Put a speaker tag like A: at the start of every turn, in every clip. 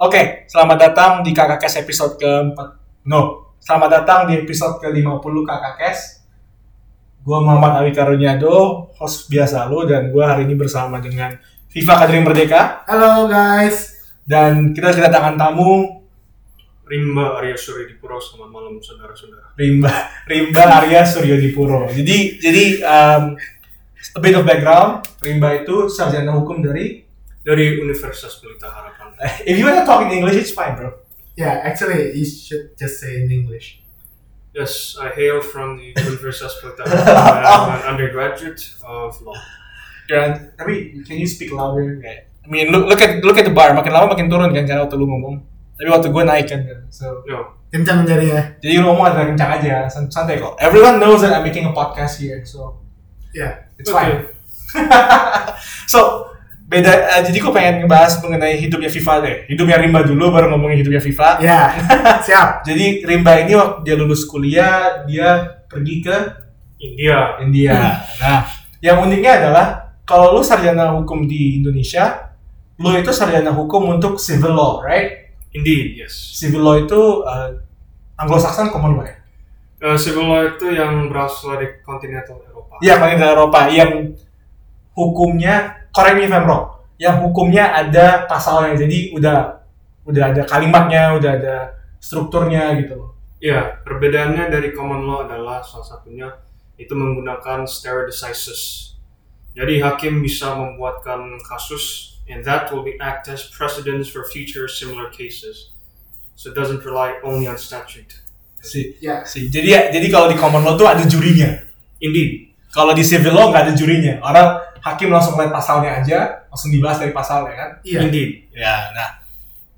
A: Oke, selamat datang di KKKS episode ke No, selamat datang di episode ke-50 KKKS. Gua Muhammad Awi Karunyado, host biasa lo dan gua hari ini bersama dengan Viva Kadring Merdeka
B: Halo guys.
A: dan kita kedatangan tamu
C: Rimba Arya Surya Dipuro selamat malam saudara-saudara.
A: Rimba Rimba Arya Suryodipuro. Jadi jadi um, a bit of background, Rimba itu sarjana hukum dari eh,
C: Dari Universitas Pelita Harapan.
A: If you want to talk in English, it's fine, bro.
B: Yeah, actually you should just say in English.
C: Yes, I hail from the Universitas Pelita Harapan. I'm an undergraduate of law.
A: Dan Ya, tapi can you speak louder kayak I mean look, look at look at the bar makin lama makin turun kan karena waktu lu ngomong tapi waktu gue naik kan kan. so
C: No,
B: Kencang ya. jadinya.
A: jadi lu ngomong agak kencang aja san- santai kok everyone knows that I'm making a podcast here so
B: Yeah.
A: it's fine so beda eh, jadi gue pengen ngebahas mengenai hidupnya Viva deh hidupnya Rimba dulu baru ngomongin hidupnya Viva
B: Ya. Siap.
A: jadi Rimba ini waktu dia lulus kuliah dia pergi ke
C: India.
A: India. Nah, yang uniknya adalah kalau lu sarjana hukum di Indonesia, lu itu sarjana hukum untuk civil law, right?
C: Indeed, yes.
A: Civil law itu uh, Anglo-Saxon common law. ya?
C: Eh, civil law itu yang berasal dari kontinental Eropa.
A: Iya, paling dari Eropa yang hukumnya correct me if I'm wrong. Yang hukumnya ada pasalnya, jadi udah udah ada kalimatnya, udah ada strukturnya gitu loh.
C: Iya, perbedaannya dari common law adalah salah satunya itu menggunakan stare decisis. Jadi hakim bisa membuatkan kasus and that will be act as precedents for future similar cases. So it doesn't rely only on statute.
A: Si,
B: Ya.
A: si. Jadi ya, jadi kalau di common law tuh ada jurinya.
C: Indeed,
A: Kalau di civil law nggak ada jurinya, orang hakim langsung lihat pasalnya aja, langsung dibahas dari pasalnya kan.
B: Iya.
C: indeed.
A: Ya, nah.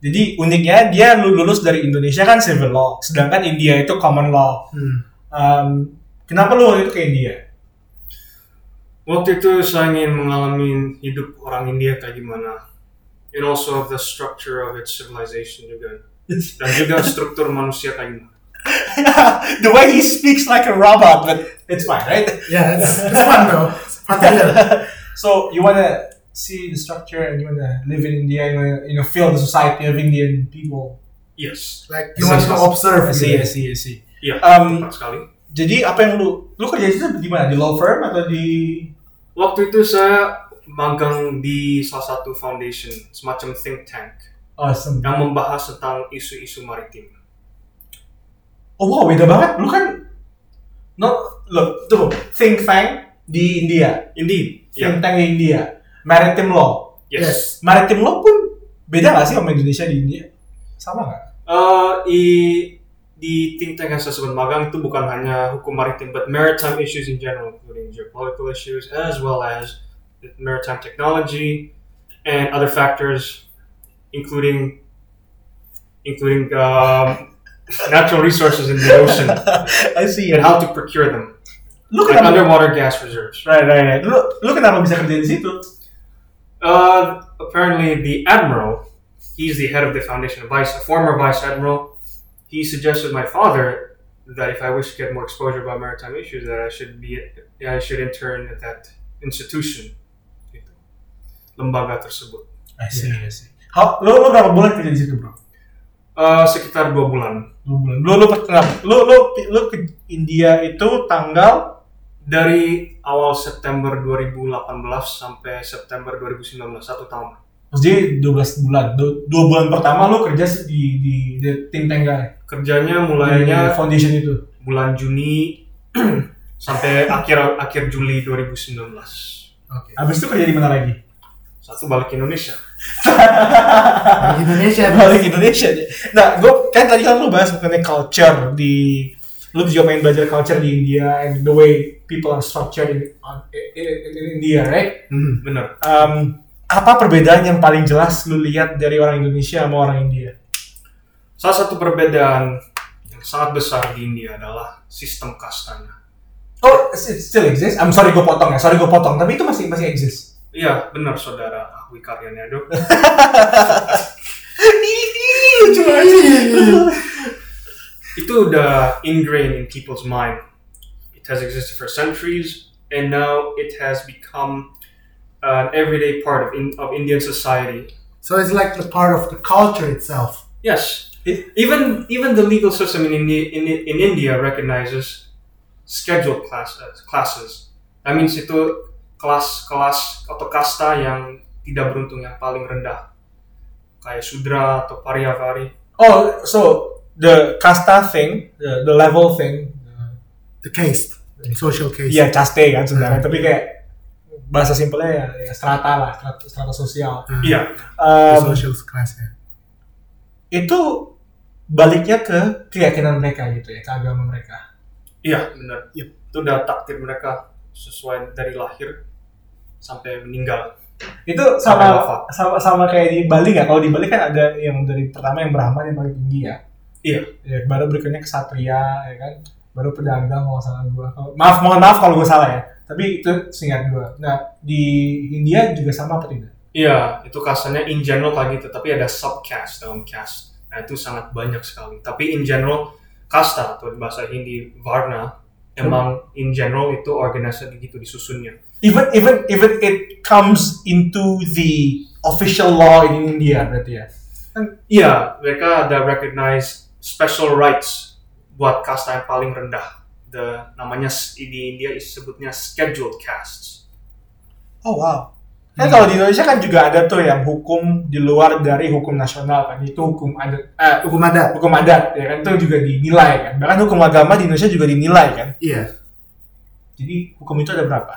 A: Jadi uniknya dia lu- lulus dari Indonesia kan civil law, sedangkan India itu common law.
B: Hmm.
A: Um, kenapa lu waktu itu ke India?
C: Waktu itu saya ingin mengalami hidup orang India kayak gimana. And also the structure of its civilization juga. Dan juga struktur manusia kayak gimana.
A: The way he speaks like a robot, but it's fine, right?
B: Yeah, it's, it's fun bro. It's fun to hear.
A: So you wanna see the structure and you wanna live in India, you wanna you know feel the society of Indian people.
C: Yes,
B: Like you want to observe.
A: I see, I
B: gitu.
A: see, I see.
C: iya,
A: Um,
C: tepat sekali.
A: Jadi apa yang lu lu kerja itu di mana? Di law firm atau di
C: Waktu itu saya magang di salah satu foundation, semacam think tank,
A: awesome.
C: yang membahas tentang isu-isu maritim.
A: Oh wow, beda banget. Lu kan no look tuh think tank di India.
C: Indeed.
A: think
C: Ya,
A: tank di India, maritime law.
C: Yes.
A: Maritime law pun beda nggak sih sama Indonesia di India? Sama nggak?
C: Eh, i, di think tank yang saya sebut magang itu bukan hanya hukum maritim, but maritime issues in general, including geopolitical issues, as well as maritime technology and other factors, including including um, natural resources in the ocean
A: I see.
C: and how to procure them,
A: Lu
C: like
A: kenapa?
C: underwater gas reserves.
A: Right, right, right. Lu, lu kenapa bisa kerja di situ?
C: Uh, apparently, the admiral, he's the head of the foundation, a vice, a former vice admiral. He suggested my father that if I wish to get more exposure about maritime issues, that I should be, I should intern at that institution, gitu. lembaga tersebut.
A: I see, I see. How, lu, lu berapa bulan kerja di situ, bro?
C: Uh, sekitar dua bulan
A: Dua bulan. Lu, lu, pertengah. lu, lu, lu ke India itu tanggal
C: dari awal September 2018 sampai September 2019 satu tahun.
A: jadi 12 bulan. Du- Dua bulan pertama lu kerja sih di di, di think tank guy.
C: Kerjanya
A: Di
C: mulainya
A: foundation itu.
C: bulan Juni sampai akhir akhir Juli 2019.
B: Oke.
A: Habis itu kerja di mana lagi?
C: satu balik ke Indonesia.
B: Di Indonesia.
A: balik Indonesia aja. Nah, gue kan tadi kan lu bahas mengenai culture di lu juga pengen belajar culture di India and the way people are structured in, on- in, in- in India, right?
B: Hmm.
C: Bener.
A: Um, apa perbedaan yang paling jelas lu lihat dari orang Indonesia sama orang India?
C: Salah satu perbedaan yang sangat besar di India adalah sistem kastanya.
A: Oh, it still exists. I'm sorry gue potong ya, sorry gue potong. Tapi itu masih masih exist.
C: Iya, benar saudara Ahwi Karyanyado.
A: Lucu banget.
C: Itu udah ingrained in people's mind. It has existed for centuries, and now it has become an everyday part of, in, of Indian society.
B: So it's like the part of the culture itself.
C: Yes.
A: It-
C: even even the legal system in India, in, in India recognizes scheduled class, uh, classes. That means itu kelas-kelas atau kasta yang tidak beruntung yang paling rendah. Kayak sudra atau pariavari.
A: Oh, so the kasta thing, the, the level thing.
B: The caste. Social caste.
A: Iya, caste kan sebenarnya, tapi kayak bahasa simpelnya ya, ya strata lah, strata, strata sosial.
B: Uh,
C: Iya.
B: the
A: Um,
B: social class ya.
A: itu baliknya ke keyakinan mereka gitu ya, ke agama mereka.
C: Iya, benar. Itu udah takdir mereka sesuai dari lahir sampai meninggal.
A: Itu
C: Sampai wafat.
A: sama sama, sama kayak di Bali nggak? Kalau di Bali kan ada yang dari pertama yang Brahman yang paling tinggi ya.
C: Iya.
A: ya baru berikutnya kesatria ya kan baru pedagang kalau salah gua Kalau- maaf mohon maaf kalau gua salah ya tapi itu singkat gua nah di India juga sama apa tidak
C: Iya, itu kastanya in general kayak gitu, tapi ada subcast dalam caste. Nah, itu sangat banyak sekali. Tapi in general kasta atau di bahasa Hindi varna emang in general itu organisasi gitu disusunnya.
A: even even even it comes into the official law in India berarti ya
C: Iya, mereka ada recognize special rights buat kasta yang paling rendah. The namanya s- di India disebutnya scheduled castes.
A: oh wow kan
B: Hmm.
A: kalau di Indonesia kan juga ada tuh yang hukum di luar dari hukum nasional kan itu hukum adat eh,
B: Hukum adat.
A: hukum adat ya kan itu juga dinilai kan bahkan hukum agama di Indonesia juga dinilai kan
B: Iya.
A: Jadi hukum itu ada berapa?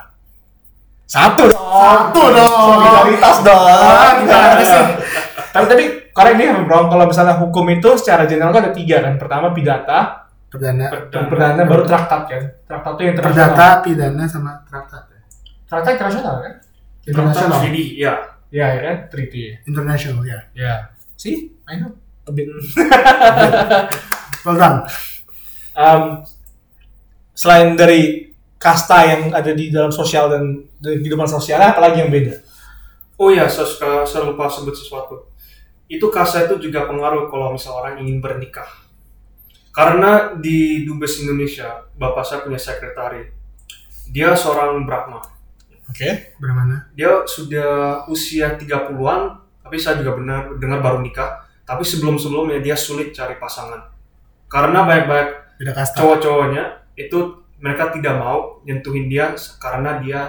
A: Satu dong.
B: Satu dong.
A: Solidaritas dong.
B: Ah, gimana sih?
A: tapi tapi korek ini yang wrong kalau misalnya hukum itu secara general itu ada tiga kan. Pertama pidata,
B: Perdana.
A: dan
C: Perdana.
A: perdana baru traktat kan. Traktat itu yang internasional.
B: Ya. Perdata, pidana, sama traktat. ya.
A: Traktat internasional kan?
B: Internasional.
C: Jadi, iya.
A: Iya ya kan, treaty.
B: International, ya.
A: Ya. See, I know. A bit.
B: Well done.
A: Um, selain dari kasta yang ada di dalam sosial dan di kehidupan sosialnya, apalagi yang beda?
C: Oh ya, saya, suka, saya lupa sebut sesuatu. Itu kasa itu juga pengaruh kalau misal orang ingin bernikah. Karena di Dubes Indonesia, bapak saya punya sekretari. Dia seorang Brahma.
A: Oke.
B: Bagaimana?
C: Dia sudah usia 30-an, tapi saya juga benar dengar baru nikah. Tapi sebelum-sebelumnya dia sulit cari pasangan. Karena banyak-banyak
B: Beda kasta.
C: cowok-cowoknya itu mereka tidak mau nyentuhin dia karena dia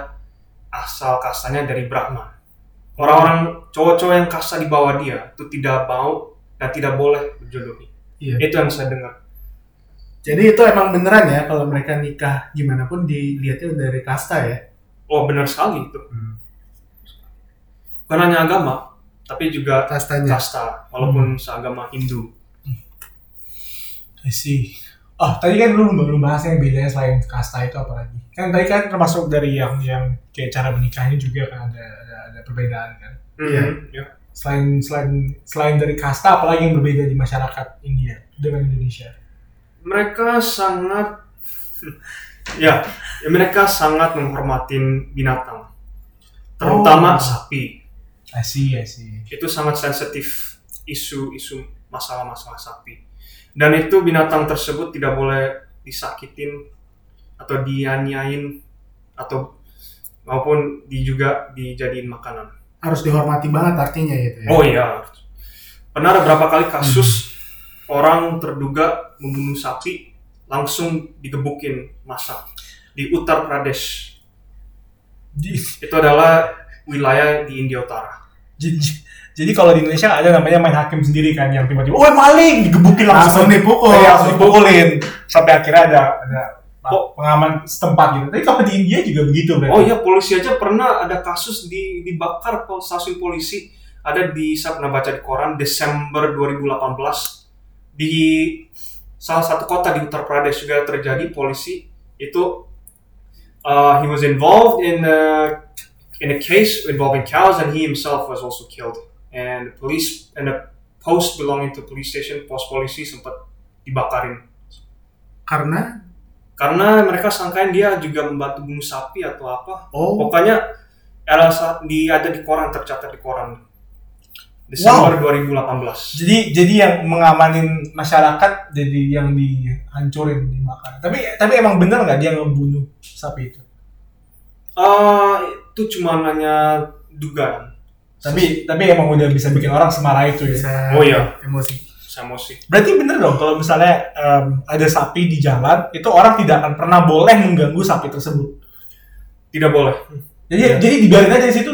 C: asal kastanya dari Brahman. Orang-orang cowok-cowok yang kasta di bawah dia itu tidak mau dan tidak boleh berjodoh.
B: Iya.
C: Itu yang saya dengar.
B: Jadi itu emang beneran ya kalau mereka nikah gimana pun dilihatnya dari kasta ya.
C: Oh benar sekali itu.
B: Hmm.
C: Bukan hanya agama, tapi juga
B: Kastanya.
C: kasta,
B: Hmm.
C: walaupun seagama Hindu.
A: I see. Oh, tadi kan lu belum bahas yang bedanya selain kasta itu apalagi. Kan tadi kan termasuk dari yang yang kayak cara menikahnya juga kan ada ada, ada perbedaan kan.
B: Iya.
C: Mhm, ya.
A: Selain selain selain dari kasta apalagi yang berbeda di masyarakat India dengan Indonesia.
C: Mereka sangat, ya, ya, mereka sangat menghormatin binatang,
A: Oh.
C: terutama sapi.
A: I see, I see.
C: itu sangat sensitif isu-isu masalah-masalah sapi dan itu binatang tersebut tidak boleh disakitin atau dianiain atau maupun di juga dijadiin makanan
B: Harus dihormati banget artinya gitu ya.
C: oh iya pernah ada berapa kali kasus orang terduga membunuh sapi langsung digebukin masa di Uttar Pradesh
A: Di-
C: itu adalah wilayah di India Utara
A: Jadi, jadi kalau di Indonesia ada namanya main hakim sendiri kan yang tiba-tiba, "Woi, maling!" digebukin langsung.
B: Langsung dipukul.
A: Iya, langsung dipukulin sampai akhirnya ada ada pengaman setempat gitu. Tapi kalau di India juga begitu berarti.
C: Oh iya polisi aja pernah ada kasus di dibakar pol- stasiun polisi ada di saya pernah baca di koran Desember 2018 di salah satu kota di Uttar Pradesh juga terjadi polisi itu uh, he was involved in a, in a case involving cows and he himself was also killed and the police and a post belonging to police station pos polisi sempat dibakarin
B: Karena
C: karena mereka sangkain dia juga membantu bunuh sapi atau apa
B: oh
C: Pokoknya era saat di ada di koran tercatat di koran Desember 2018.
A: Jadi jadi yang mengamanin masyarakat jadi yang dihancurin dibakar. Tapi tapi emang bener nggak dia ngebunuh sapi itu?
C: Ah, itu cuma hanya dugaan.
A: Tapi tapi emang udah bisa bikin orang semarah itu ya.
B: bisa
C: Oh, iya.
B: emosi
C: sama sih
A: Berarti bener dong kalau misalnya em, ada sapi di jalan, itu orang tidak akan pernah boleh mengganggu sapi tersebut.
C: tidak boleh
A: Jadi
C: Iya.
A: jadi dibiarin aja di situ.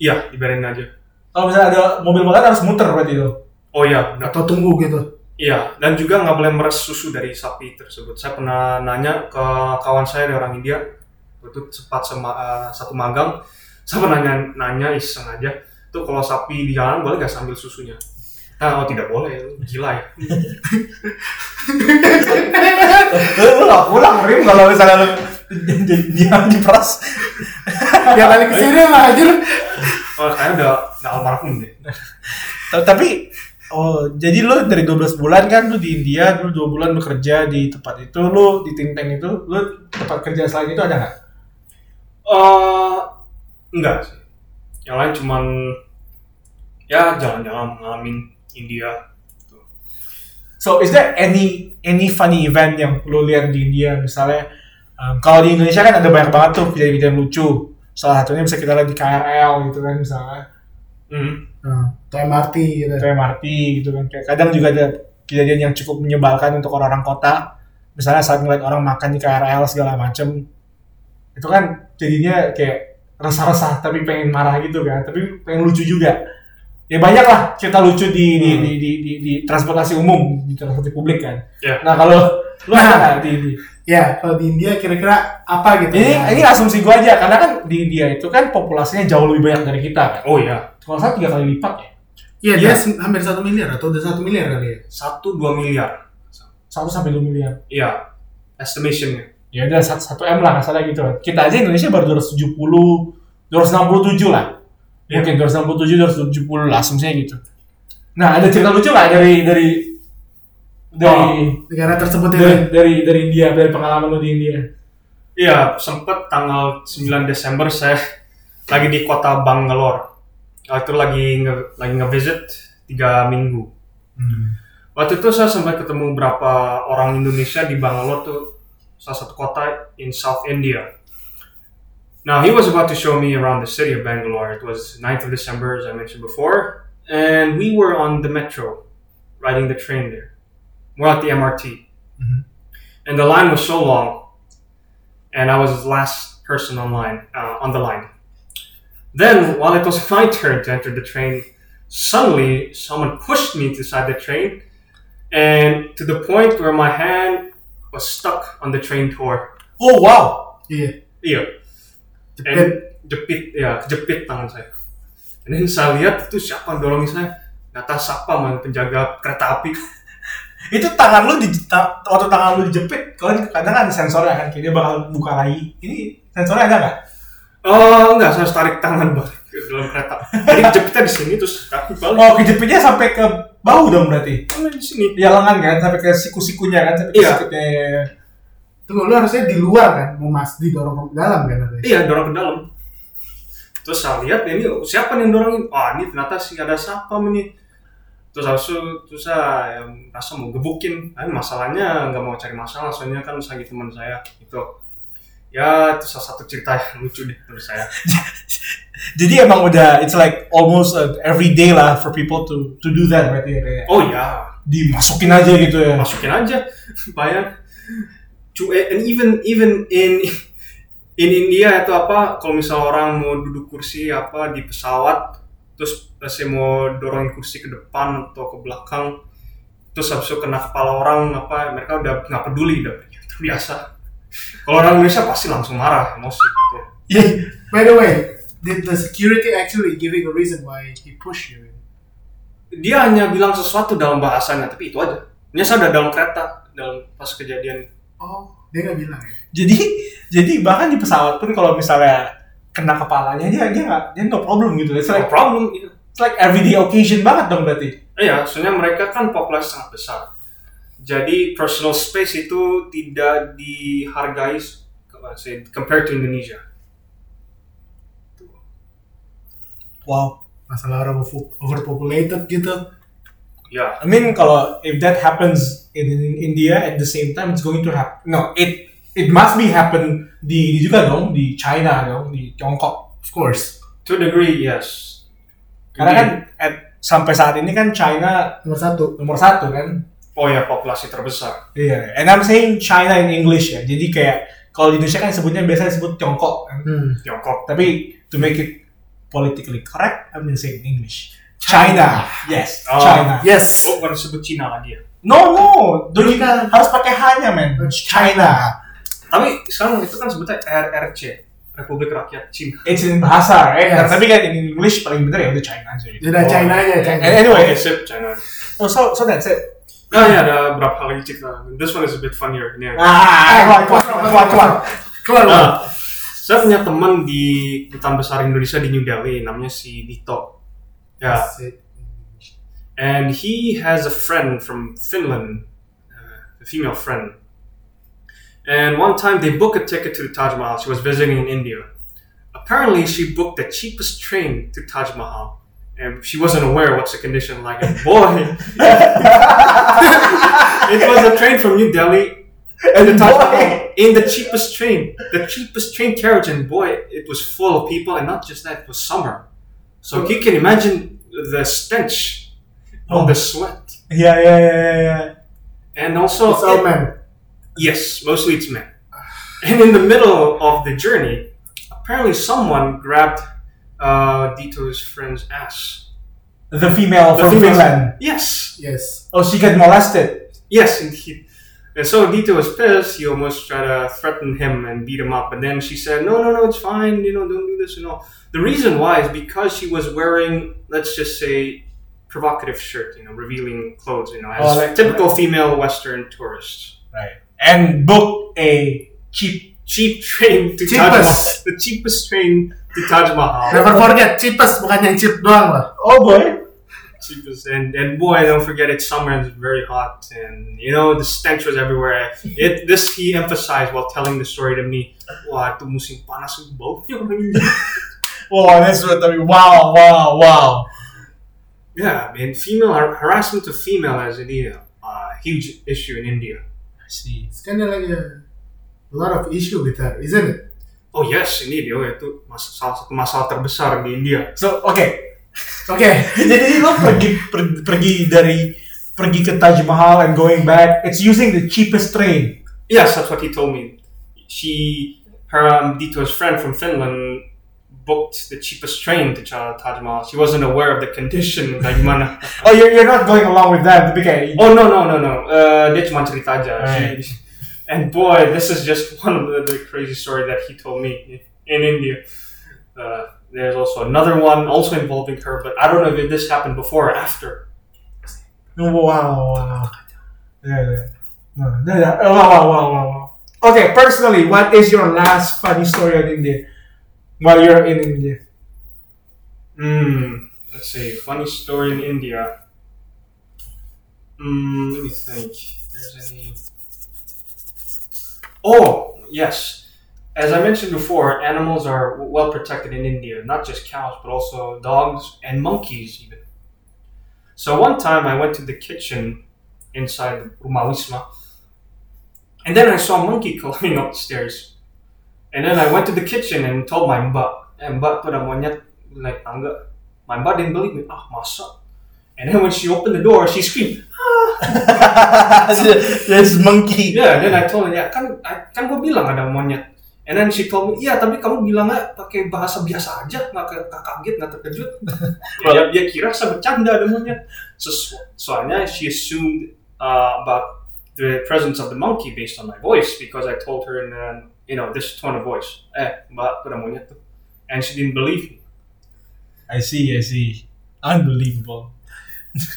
C: iya dibiarin aja
A: Kalau misalnya ada mobil motor harus muter berarti itu.
C: oh iya benar.
B: atau tunggu gitu
C: Iya, dan juga nggak boleh meres susu dari sapi tersebut. Saya pernah nanya ke kawan saya dari orang India, itu sempat sama eh, satu magang. Saya pernah nanya, nanya iseng aja, tuh kalau sapi di jalan boleh nggak sambil susunya? Ah, oh tidak boleh, lu gila ya.
A: Eh, Lu lu nggak pulang rim kalau misalnya lu diam di peras.
B: ya balik ke sini lah anjir
C: Oh, kayaknya udah, udah almarhum deh.
A: Tapi oh jadi lu dari 12 bulan kan lu di India, lu 2 bulan bekerja di tempat itu, lu di think tank itu, lu tempat kerja selain itu ada nggak?
C: Eh, enggak sih. Yang lain cuman ya jalan-jalan ngalamin India. Tuh.
A: So is there any any funny event yang lo lihat di India misalnya um, kalau di Indonesia kan ada banyak banget tuh kejadian-kejadian lucu. Salah satunya bisa kita lihat di KRL gitu kan misalnya
C: Hmm.
B: atau MRT gitu
A: atau MRT gitu kan. Kayak kadang juga ada kejadian yang cukup menyebalkan untuk orang-orang kota. Misalnya saat ngeliat orang makan di KRL segala macem itu kan jadinya kayak resah-resah tapi pengen marah gitu kan, tapi pengen lucu juga. Ya banyak lah cerita lucu di di,
C: Hmm.
A: di, di, di, di transportasi umum, di transportasi publik kan.
C: Ya.
A: Nah kalau lu
B: Nah.
A: ada nggak di, di
B: ya kalau di India kira-kira apa
C: Iya.
B: gitu
A: ini
B: ya?
A: ini asumsi gua aja karena kan di India itu kan populasinya jauh lebih banyak dari kita kan.
C: Oh ya,
A: Kalau saya tiga kali lipat ya,
B: Iya, dia se- hampir satu miliar atau udah satu miliar kali ya?
C: satu dua miliar.
A: satu sampai dua miliar.
C: Iya, estimationnya.
A: Ya udah satu, satu m lah nggak salah gitu. kan. Kita aja Indonesia baru 270, 267 lah.
C: Ya.
A: Mungkin 267, 270 lah asumsinya gitu. Nah ada cerita lucu nggak dari dari dari
C: Oh.
B: Negara tersebut itu.
A: dari, dari dari India dari pengalaman lo di India?
C: Iya, sempat tanggal 9 Desember saya lagi di kota Bangalore. Waktu itu lagi nge lagi ngevisit tiga minggu. Waktu itu saya sempat ketemu berapa orang Indonesia di Bangalore tuh salah satu kota in South India. Now he was about to show me around the city of Bangalore. It was 9th of December, as I mentioned before, and we were on the metro, riding the train there. We're at the MRT,
A: Mhm.
C: and the line was so long, and I was the last person on line uh, on the line. Then, while it was my turn to enter the train, suddenly someone pushed me inside the train, and to the point where my hand was stuck on the train door.
A: Oh wow.
B: Iya.
C: Iya,
B: Jepit.
C: and jepit ya, jepit tangan saya. And then saya lihat itu siapa yang dorongin saya? Nata siapa man penjaga kereta api?
A: itu tangan lu di ta- waktu tangan lu dijepit kalau kadang kan sensornya kan kayak dia bakal buka lagi ini sensornya ada nggak
C: Oh enggak, saya harus tarik tangan balik ke dalam kereta. Jadi jepitnya di sini terus kaki balik.
A: oh kejepitnya sampai ke bau dong berarti
C: Oh, di sini.
A: ya lengan kan sampai ke siku-sikunya kan sampai ke
C: Iya.
A: sikutnya ya, ya, ya.
B: Tunggu, lu harusnya di luar kan? Mau mas didorong ke dalam kan? katanya?
C: Iya, dorong ke dalam. Terus saya lihat ini oh, siapa nih yang dorongin? Wah, ini ternyata sih ada siapa ini. Terus habis itu terus saya ya, merasa mau gebukin. Tapi masalahnya nggak mau cari masalah, soalnya kan saya teman saya itu. Ya, itu salah satu cerita yang lucu deh menurut saya.
A: jadi emang udah it's like almost uh, every day lah for people to to do that berarti ya kayak
C: Oh ya,
A: dimasukin aja gitu ya
C: masukin aja bayar Cu- eh, and even even in in India itu apa kalau misal orang mau duduk kursi apa di pesawat terus saya mau dorongin kursi ke depan atau ke belakang terus habis itu kena kepala orang apa mereka udah nggak peduli udah terbiasa kalau orang Indonesia pasti langsung marah emosi gitu.
A: Iya.
B: By the way, did the security actually giving a reason why he push you?
C: dia hanya bilang sesuatu dalam bahasanya tapi itu aja Ini saya udah dalam kereta dalam pas kejadian
B: Oh, dia nggak bilang ya?
A: jadi jadi bahkan di pesawat pun kalau misalnya kena kepalanya dia dia nggak dia no problem gitu it's
C: no
A: like
C: problem gitu.
A: it's like everyday occasion banget dong berarti
C: Iya, soalnya mereka kan populasi sangat besar. Jadi personal space itu tidak dihargai kalau saya compared to Indonesia.
A: wow
B: Masalah orang over- overpopulated gitu.
C: Ya,
A: I mean kalau if that happens in, in India at the same time it's going to happen. No, it it must be happen di, di juga dong di China dong di Tiongkok.
B: Of course.
C: to a degree yes.
A: Karena kan at- sampai saat ini kan China
B: nomor satu
A: nomor satu kan.
C: oh ya populasi terbesar
A: Iya. And I'm saying China in English ya. Jadi kayak kalau di Indonesia kan sebutnya biasanya disebut Tiongkok kan.
B: hmm.
C: Tiongkok
A: Tapi to make it politically correct, I'm gonna say it in English. China. Yes,
C: Oh.
A: China.
B: yes
C: oh bukan disebut Cina lagi ya
A: No, no. Dulu kita harus pakai hanya men. China.
C: tapi sekarang itu kan sebutnya RRC Republik Rakyat Cina
A: It's in bahasa, right?
B: Yes.
A: Tapi kan in English paling bener ya udah China aja gitu.
B: Yaudah
C: Oh.
B: China aja China
A: And anyway,
C: okay, sip China
A: oh, so so that's it.
C: nah ya ada berapa hal lagi cerita this one is a bit funnier ini ada.
A: Ah, keluar, keluar, keluar, keluar.
B: keluar keluar.
C: Nah, saya punya teman di Dutaan Besar Indonesia di New Delhi, namanya si Dito.
A: Ah.
C: Ya,
B: Asik.
C: and he has a friend from Finland, uh, a female friend. And one time they booked a ticket to the Taj Mahal. She was visiting in India. Apparently, she booked the cheapest train to Taj Mahal. And she wasn't aware what's the condition like. And boy, it was a train from New Delhi
A: And
C: the Taj
A: boy,
C: Mahal in the cheapest train, the cheapest train carriage, and boy, it was full of people, and not just that, it was summer, so you can imagine the stench of the sweat,
A: Iya, iya, iya, iya, iya.
C: and also
B: It's all men.
C: yes, mostly it's men, and in the middle of the journey, apparently someone grabbed uh, Dito's friend's ass.
A: The female
C: The
A: from
C: female-
A: Finland.
C: Yes,
B: yes
A: Oh, she got molested.
C: yes, and he. And so Dito was pissed. He almost tried to threaten him and beat him up. But then she said, "No, no, no, it's fine. You know, don't do this and all." The reason why is because she was wearing, let's just say, provocative shirt, you know, revealing clothes, you know, as
A: Oh, like-
C: typical female Western tourists.
A: Right. And booked a cheap.
C: Cheap train to Taj Mahal.
B: Cheapest.
C: The cheapest train to Taj Mahal.
B: never forget cheapest bukan yang cheap doang lah
A: Oh boy.
C: cheapest. And and boy, don't forget it's summer and it's very hot, and you know the stench was everywhere. It this he emphasized while telling the story to me. Wah, itu musim panas itu baunya orang ini."
A: Wow, that's what I mean. Wow, wow, wow.
C: Yeah, I mean, female har- harassment of female as an you know, uh, huge issue in India.
A: I see.
B: it's kind of like uh, a lot of issue with her isn't it
C: Oh yes, ini dia itu mas- salah satu masalah terbesar di India.
A: So, oke.
B: oke
A: Jadi lo pergi per- pergi dari pergi ke Taj Mahal and going back. It's using the cheapest train.
C: Yes, that's what he told me. She, her um, Dito's friend from Finland, booked the cheapest train to Ch- Taj Mahal. She wasn't aware of the condition, like mana.
A: Oh, you're, you're not going along with that, tapi kayak
C: Oh no no no no. Uh, dia cuma cerita aja.
A: Alright.
C: She- And boy, this is just one of the, the crazy story that he told me in India. Uh, there's also another one also involving her, but I don't know if this happened before or after.
A: Wow, wow. Yeah, yeah. No, no, no. Oh, Wow, wow, wow, wow, wow. Okay, personally, what is your last funny story on India? While you're in India.
C: Hmm. Let's see. Funny story in India. Hmm. Let me think. If There's any. Oh yes. As I mentioned before, animals are w- well protected in India. Not just cows, but also dogs and monkeys even. So one time I went to the kitchen inside Umawisma, and then I saw a monkey climbing up the stairs. And then I went to the kitchen and told my mbak, eh, mbak tuh ada monyet naik tangga. My mbak didn't believe me. Ah, masa? And then when she opened the door, she screamed.
A: There's monkey.
C: Yeah, and then I told her, ya kan, I- kan gue bilang ada monyet. And then she told me, iya tapi kamu bilangnya pakai bahasa biasa aja, nggak ke- nggak kaget, nggak terkejut. Ya, dia, dia kira saya bercanda ada monyet. So, so- soalnya she assumed uh, about the presence of the monkey based on my voice because I told her in uh, you know this tone of voice, eh mbak tuh ada monyet tuh, and she didn't believe me.
A: I see, I see. Unbelievable.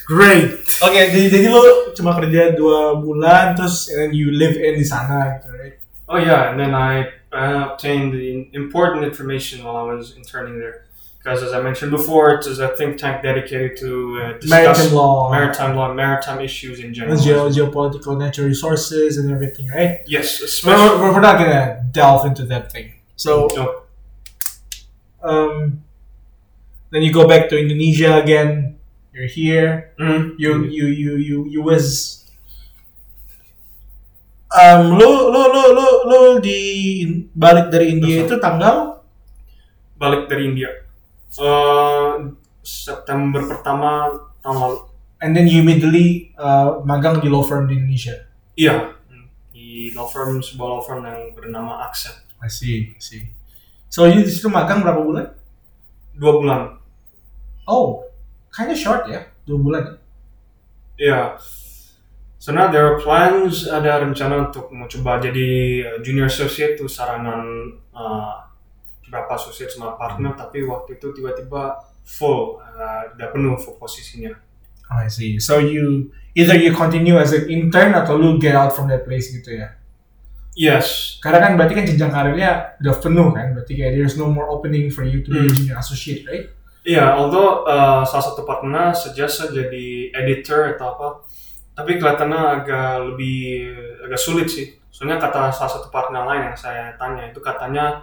B: great
A: Oke, jadi, jadi lo cuma kerja dua bulan, terus and then you live in di sana gitu, right?
C: Oh yeah, and then I uh, obtained the important information while I was interning there, because as I mentioned before, it is a think tank dedicated to uh,
A: Maritime
C: discuss
A: law,
C: maritime law, maritime issues in general.
A: geo geopolitical natural resources and everything, right?
C: Yes, especially.
A: We're, we're we're not gonna delve into that thing. So,
C: No.
A: um, then you go back to Indonesia again. You're here.
C: Mhm.
A: You you you you you was um lo lo lo lo lo di balik dari India itu tanggal
C: balik dari India. Uh, September pertama tahun lalu.
A: And then you immediately uh, magang di law firm di Indonesia.
C: Iya. mm, Di law firm sebuah law firm yang bernama Accept.
A: I see, I see. So you di situ magang berapa bulan?
C: Dua bulan.
A: Oh, kinda short ya, dua bulan. ya?
C: Iya. So now there are plans, ada rencana untuk mau coba jadi uh, junior associate tuh saranan uh, berapa associate sama partner, tapi waktu itu tiba-tiba full, uh, udah penuh full posisinya.
A: Oh, I see. So you either you continue as an intern atau lu get out from that place gitu ya.
C: Yes,
A: Karena kan berarti kan jenjang karirnya udah penuh kan, berarti kayak there's no more opening for you to be a
C: Hmm.
A: junior associate, right?
C: iya. although uh, salah satu partnernya suggest saya jadi editor atau apa, tapi kelihatannya agak lebih agak sulit sih. Soalnya kata salah satu partner lain yang saya tanya itu katanya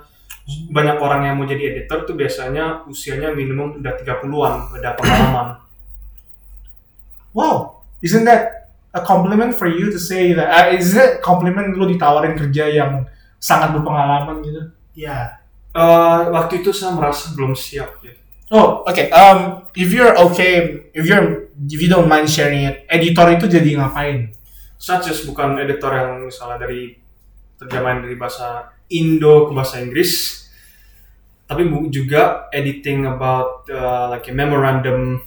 C: banyak orang yang mau jadi editor tuh biasanya usianya minimum udah 30-an, udah pengalaman.
A: Wow, isn't that a compliment for you to say that? Uh, is it compliment lu ditawarin kerja yang sangat berpengalaman gitu?
B: Ya,
C: Eh, waktu itu saya merasa belum siap ya.
A: Oh, okay. Um, if you're okay, if you're if you don't mind sharing it, editor itu jadi ngapain?
C: Saya just bukan editor yang misalnya dari terjemahan dari bahasa Indo ke bahasa Inggris, tapi bu- juga editing about eh, like a memorandum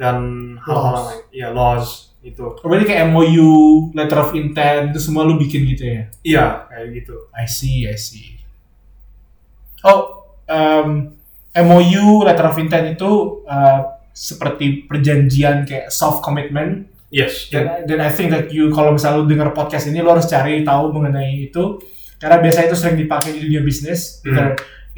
C: dan hal-hal
B: Laws.
C: lain. Ya laws itu.
A: Oh, berarti kayak MOU, letter of intent, itu semua lu bikin gitu ya?
C: Iya kayak gitu.
A: I see, I see. Oh, um, MOU, letter of intent itu uh, seperti perjanjian kayak soft commitment.
C: Yes. Dan,
A: Dan, dan I think that you kalau misalnya lu denger podcast ini, lu harus cari tahu mengenai itu. Karena biasanya itu sering dipakai di dunia bisnis,
C: Hmm.
A: either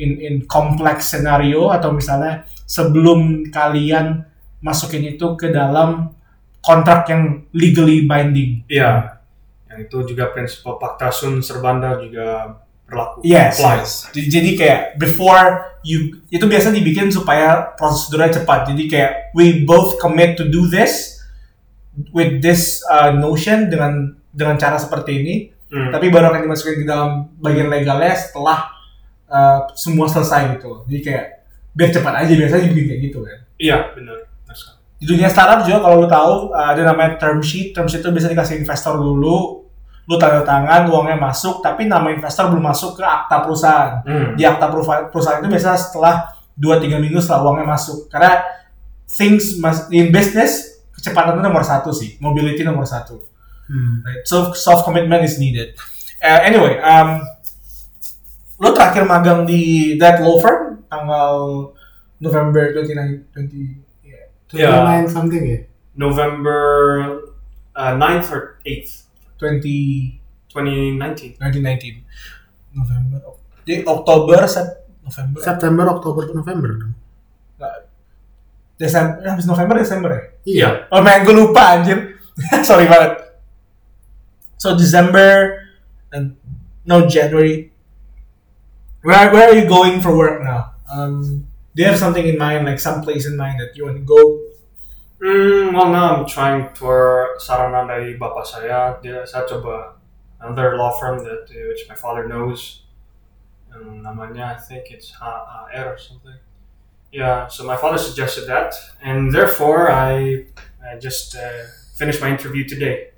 A: in in complex scenario atau misalnya sebelum kalian masukin itu ke dalam kontrak yang legally binding.
C: iya. Yang itu juga prinsip Pacta Sunt Servanda juga berlaku.
A: Yes.
C: Apply.
A: yes. Jadi, jadi kayak before you itu biasa dibikin supaya prosedurnya cepat. Jadi kayak we both commit to do this with this uh, notion dengan dengan cara seperti ini.
C: Hmm.
A: Tapi baru akan dimasukin ke dalam bagian legalnya setelah uh, semua selesai gitu. loh. Jadi kayak biar cepat aja biasanya dibikin kayak gitu kan.
C: Iya benar. Mas.
A: Di dunia startup juga kalau lu tahu uh, ada namanya term sheet. Term sheet itu biasanya dikasih investor dulu, lu tanda tangan, uangnya masuk, tapi nama investor belum masuk ke akta perusahaan
C: Hmm.
A: di akta perufa- perusahaan itu biasanya setelah 2-3 minggu setelah uangnya masuk karena things must, in business kecepatan itu nomor satu sih mobility nomor satu
B: hmm.
A: right? so soft commitment is needed Uh, anyway um, lo terakhir magang di that law firm tanggal November ya, 29 20 yeah.
C: Iya.
B: 29 something ya.
C: November uh, 9th or 8th,
A: 20
C: 2019.
A: 19 November Ok- jadi Oktober Sep- November
B: September, Oktober, November dong.
A: Desember habis November Desember ya
C: Iya.
A: Oh man, gue lupa anjir. Sorry banget. So December and no January. Where where are you going for work now? Um, do you have something in mind, like some place in mind that you want to go?
C: Hmm, well now I'm trying for sarana dari bapak saya. Dia saya coba another law firm that uh, which my father knows. Um, namanya I think it's HAR or something. Yeah, so my father suggested that, and therefore I, I just uh, finished my interview today,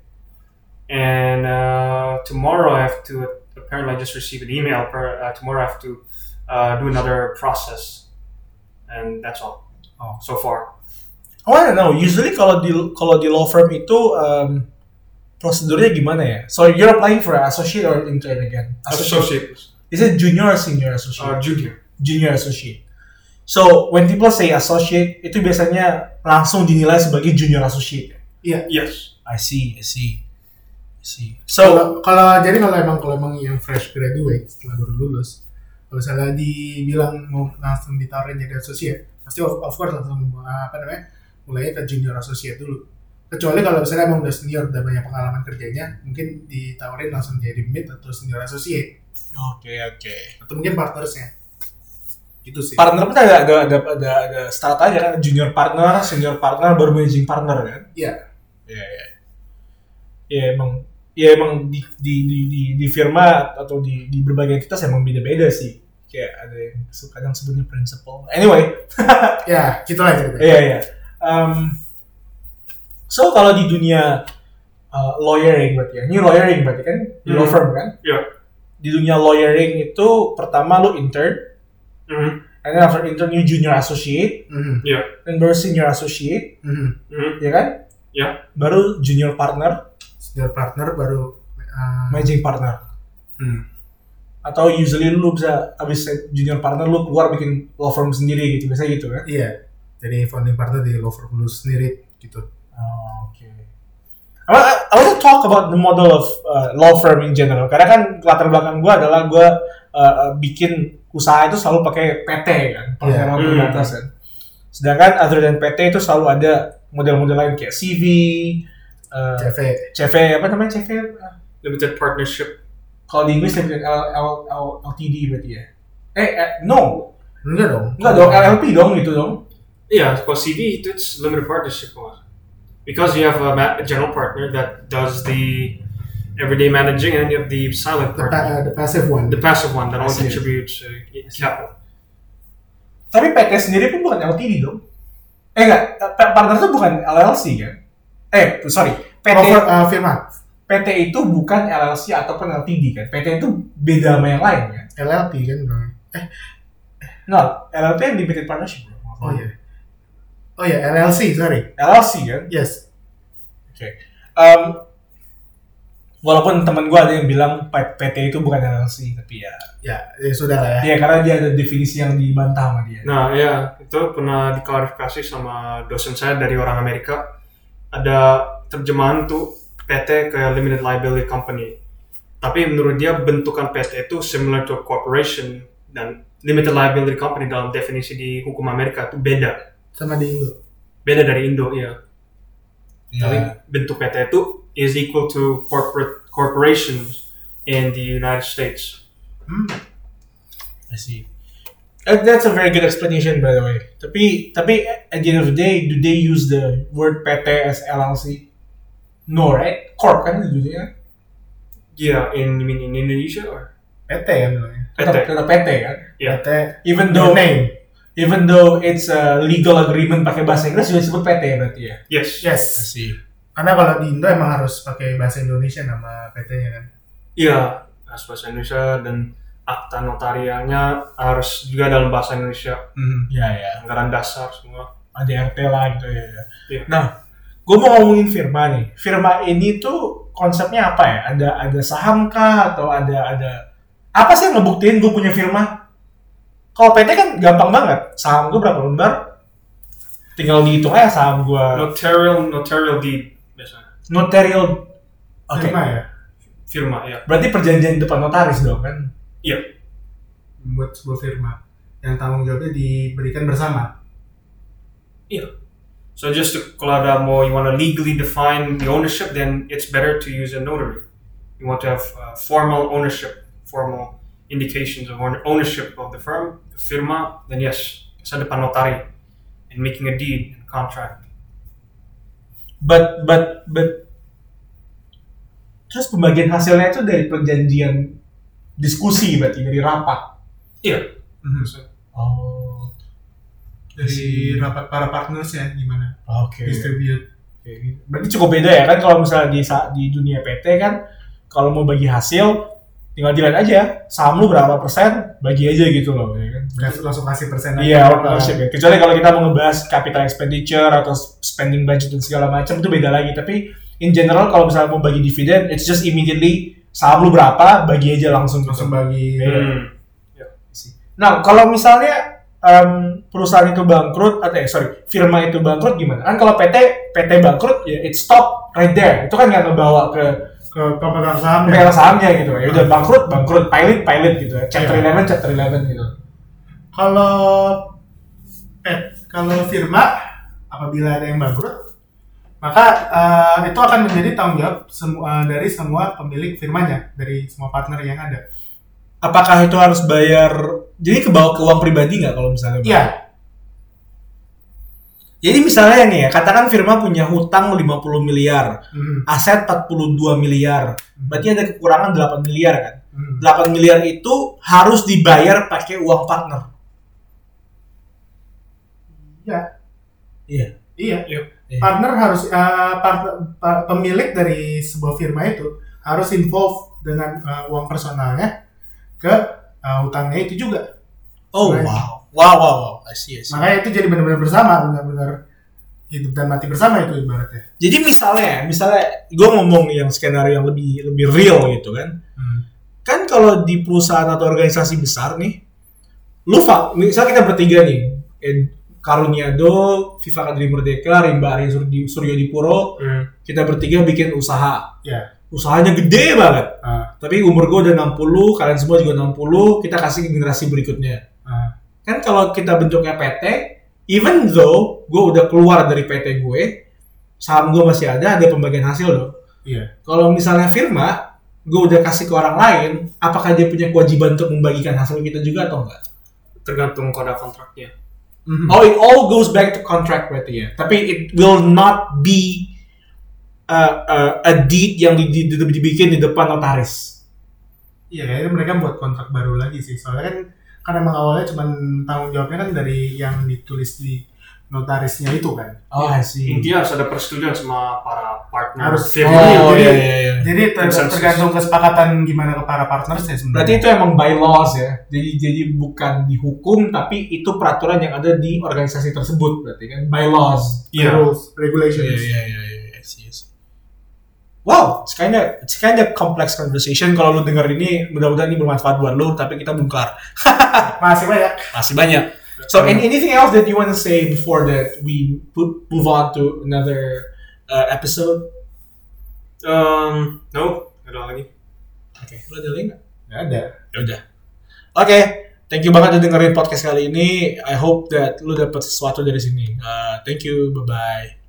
C: and uh, tomorrow I have to. Apparently, I just received an email. Per, uh, tomorrow I have to uh, do another process, and that's all.
A: Oh.
C: So far.
A: I want to know. Usually kalau di kalau di law firm itu um, prosedurnya gimana ya? So you're applying for an associate or intern again?
C: Associates.
A: Is it junior or senior associate?
C: Uh, junior.
A: junior associate. So when people say associate itu biasanya langsung dinilai sebagai junior associate.
C: Yes.
A: I see, I see, I see. So,
B: Kalau kalau jadi kalau emang kalau emang yang fresh graduate setelah baru lulus, kalau misalnya dibilang mau langsung ditawarin jadi associate, pasti of, of course langsung uh, apa namanya mulainya ke junior associate dulu. Kecuali kalau misalnya emang udah senior, udah banyak pengalaman kerjanya, mungkin ditawarin langsung jadi mid atau senior associate
A: oke, oke.
B: atau mungkin partnersnya. Gitu sih.
A: Partner pun ada ada ada ada, ada start aja kan junior partner, senior partner, baru managing partner kan?
B: Iya.
A: Iya, iya. Ya emang ya emang di di di di, di firma atau di di berbagai kita emang beda-beda sih. Kayak kayak ada yang suka kadang sebutnya principal. Anyway,
B: ya gitulah ceritanya
A: Iya iya. Um, so kalau di dunia uh, lawyering berarti ya, ini lawyering berarti kan di law
C: Hmm.
A: firm kan?
C: Iya.
A: Di dunia lawyering itu pertama lu intern,
C: Mhm,
A: and then after intern you junior associate,
B: Mhm,
C: Iya.
A: then baru senior associate,
B: mhm.
C: mhm.
A: ya kan?
C: Iya.
A: Baru junior partner,
B: senior partner baru uh,
A: managing partner.
B: hmm.
A: Atau usually lu bisa abis junior partner lu keluar bikin law firm sendiri gitu, biasanya gitu kan?
B: iya jadi founding partner di law firm lu sendiri gitu
A: Oh, okay. I want, I want to talk about the model of uh, law firm in general. Karena kan latar belakang gue adalah gue bikin usaha itu selalu pakai PT kan, perseroan
C: Hmm.
A: terbatas kan. Sedangkan other than PT itu selalu ada model-model lain kayak CV, uh,
B: CV
A: CV apa namanya CV? Uh,
C: Limited partnership.
A: Kalau di Inggris lebih L, L, L, LTD berarti ya. Eh, eh, no,
B: enggak dong
A: enggak dong LLP dong itu dong.
C: Yeah, for CD, it's limited partnership one. Because you have a, ma- a general partner that does the everyday managing, and you have the silent
B: the, pa- uh,
C: partner,
B: the passive one Oh,
C: the passive one that only
A: Passive.
C: contributes uh, capital.
A: Tapi PT sendiri pun bukan LTD dong. Eh enggak, P- partner itu bukan LLC kan? Eh, sorry. PT,
B: Law firm, uh, firma
A: PT itu bukan LLC ataupun LTD kan? PT itu beda sama yang lain kan?
B: LLP kan bang
A: No, LLP yang limited partnership bro.
B: oh iya oh iya LLC sorry
A: LLC kan?
B: yes
A: Em, walaupun teman gue ada yang bilang P- PT itu bukan LLC tapi ya,
B: ya, ya sudah lah
A: ya
B: ya
A: karena dia ada definisi yang dibantah sama dia.
C: Nah, ya itu pernah diklarifikasi sama dosen saya dari orang Amerika. Ada terjemahan tuh PT ke limited liability company. Tapi menurut dia bentukan PT itu similar to a corporation dan limited liability company dalam definisi di hukum Amerika itu beda.
B: sama di Indo
C: Beda dari Indo ya. Tapi
A: Ya.
C: bentuk PT itu is equal to corporate corporations in the United States.
B: hmm.
A: I see. Uh, That's a very good explanation by the way. Tapi tapi at the end of the day, do they use the word PT as LLC? No, right? Corp kan judulnya.
C: Yeah, Iya, in you mean in Indonesia or
B: PT ya namanya
A: Tetap,
C: PT?
A: tetap PT kan.
C: Yeah.
B: PT
A: Even
B: no
A: though
B: name
A: even though it's a legal agreement pakai bahasa Inggris juga disebut PT berarti ya.
C: Yes.
A: I
B: yes
A: see.
B: karena kalau di Indo emang harus pakai bahasa Indonesia nama PT-nya kan
C: Iya, harus bahasa Indonesia dan akta notarialnya harus juga dalam bahasa Indonesia.
A: Hmm, ya ya.
C: Anggaran dasar semua.
A: Ada RT lah gitu ya. ya.
C: Iya.
A: Nah, gue mau ngomongin firma nih. Firma ini tuh konsepnya apa ya? Ada ada saham kah atau ada ada apa sih yang ngebuktiin gue punya firma? Kalau PT kan gampang banget. Saham gue berapa lembar? Tinggal dihitung aja saham gue.
C: Notarial, notarial deed biasanya.
A: Notarial. Oke.
B: firma ya
C: Firma ya.
A: Berarti perjanjian depan notaris dong kan?
C: Iya.
B: membuat sebuah firma yang tanggung jawabnya diberikan bersama
C: So just to, kalau ada mau you want to legally define the ownership, then it's better to use a notary. You want to have uh, formal ownership, formal indications of own- ownership of the firm, the firma, then yes, it's depan notari and making a deed and contract.
A: But but but terus pembagian hasilnya itu dari perjanjian diskusi berarti dari rapat.
C: Iya.
A: Mhm.
C: So,
A: Oh.
B: dari rapat para partners ya gimana
A: Oke.
B: distribute
A: Oke. Berarti cukup beda ya kan kalau misalnya di sa- di dunia PT kan kalau mau bagi hasil tinggal dilihat aja saham lu berapa persen bagi aja gitu low ya kan.
B: kas- langsung kasih persen aja.
A: Iya, ownership ya. Kecuali kalau kita mau ngebahas capital expenditure atau spending budget dan segala macam itu beda lagi. Tapi in general kalau misalnya mau bagi dividen, it's just immediately saham lu berapa, bagi aja langsung.
B: langsung bagi
A: Iya.
C: hmm.
A: Nah, kalau misalnya em, perusahaan itu bangkrut atau eh, sorry, firma itu bangkrut gimana? Kan kalau PT PT bangkrut ya it stop right there. Itu kan nggak ngebawa ke
B: ke pemegang saham
A: pemegang sahamnya gitu. Ya udah bangkrut, bangkrut, pilot, pilot gitu. ya. Chapter
B: Iya.
A: 11, chapter 11 gitu.
B: kalau pet kalau firma apabila ada yang bangkrut maka eh, itu akan menjadi tanggung jawab semua dari semua pemilik firmanya dari semua partner yang ada
A: Apakah itu harus bayar? Jadi ke bawah ke uang pribadi nggak kalau misalnya? bangkrut?
B: iya
A: Jadi misalnya nih ya, katakan firma punya hutang 50 miliar,
B: Mhm.
A: aset 42 miliar, berarti ada kekurangan 8 miliar kan?
B: Hmm.
A: 8 miliar itu harus dibayar pakai uang partner.
B: Iya.
A: Iya.
B: Iya.
C: Iya.
B: Partner harus eh, part- pa- pemilik dari sebuah firma itu harus involved dengan eh, uang personalnya ke eh, hutangnya itu juga.
A: Oh
B: Right.
A: wow, wow, wow, wow. I see, I see.
B: Makanya itu jadi benar-benar bersama, benar-benar hidup dan mati bersama itu ibaratnya.
A: Jadi misalnya, misalnya gue ngomong nih yang skenario yang lebih lebih real gitu kan.
C: Hmm.
A: Kan kalau di perusahaan atau organisasi besar nih, lu fa- misalnya kita bertiga nih, eh, Karuniado, Viva Kadri Merdeka, Rimba Arya Surdi- Suryo Dipuro, kita bertiga bikin usaha.
B: Ya.
A: Usahanya gede banget.
B: Ah.
A: Tapi umur gue udah 60, kalian semua juga 60, kita kasih ke generasi berikutnya.
B: Ah.
A: kan kalau kita bentuknya PT, even though gue udah keluar dari PT gue, saham gue masih ada, ada pembagian hasil loh.
B: Iya.
A: Kalau misalnya firma, gue udah kasih ke orang lain, apakah dia punya kewajiban untuk membagikan hasil kita juga atau enggak?
C: Tergantung koda kontraknya.
A: Oh, it all goes back to contract berarti ya. Tapi it will not be uh, uh, a deed yang di- di- di- dibikin di depan notaris.
B: Iya kayaknya mereka buat kontrak baru lagi sih. Soalnya kan kan emang awalnya cuman tanggung jawabnya kan dari yang ditulis di notarisnya itu kan.
A: Oh, I see.
C: Intinya harus ada persetujuan sama para partner.
B: Harus.
C: firm.
A: Oh,
B: Jadi-
A: iya, iya, iya.
B: Jadi ter-
C: Konsensus.
B: tergantung kesepakatan gimana ke para partnersnya
A: Berarti
B: sebenarnya.
A: itu emang bylaws ya. Jadi jadi bukan dihukum tapi itu peraturan yang ada di organisasi tersebut berarti kan bylaws.
C: Iya.
B: rules, regulations.
A: iya iya. Wow, it's kinda it's kinda complex conversation. Kalau lu denger ini, mudah-mudahan ini bermanfaat buat lu. Tapi kita belum kelar,
B: Masih banyak.
A: masih banyak. So, an- anything else that you want to say before that we po- move on to another uh, episode?
C: Um, no, nggak ada lagi.
A: Oke, lu ada link nggak?
B: Gak ada.
A: Ya udah. Oke, thank you banget udah dengerin podcast kali ini. I hope that lu dapet sesuatu dari sini. Uh, thank you, bye bye.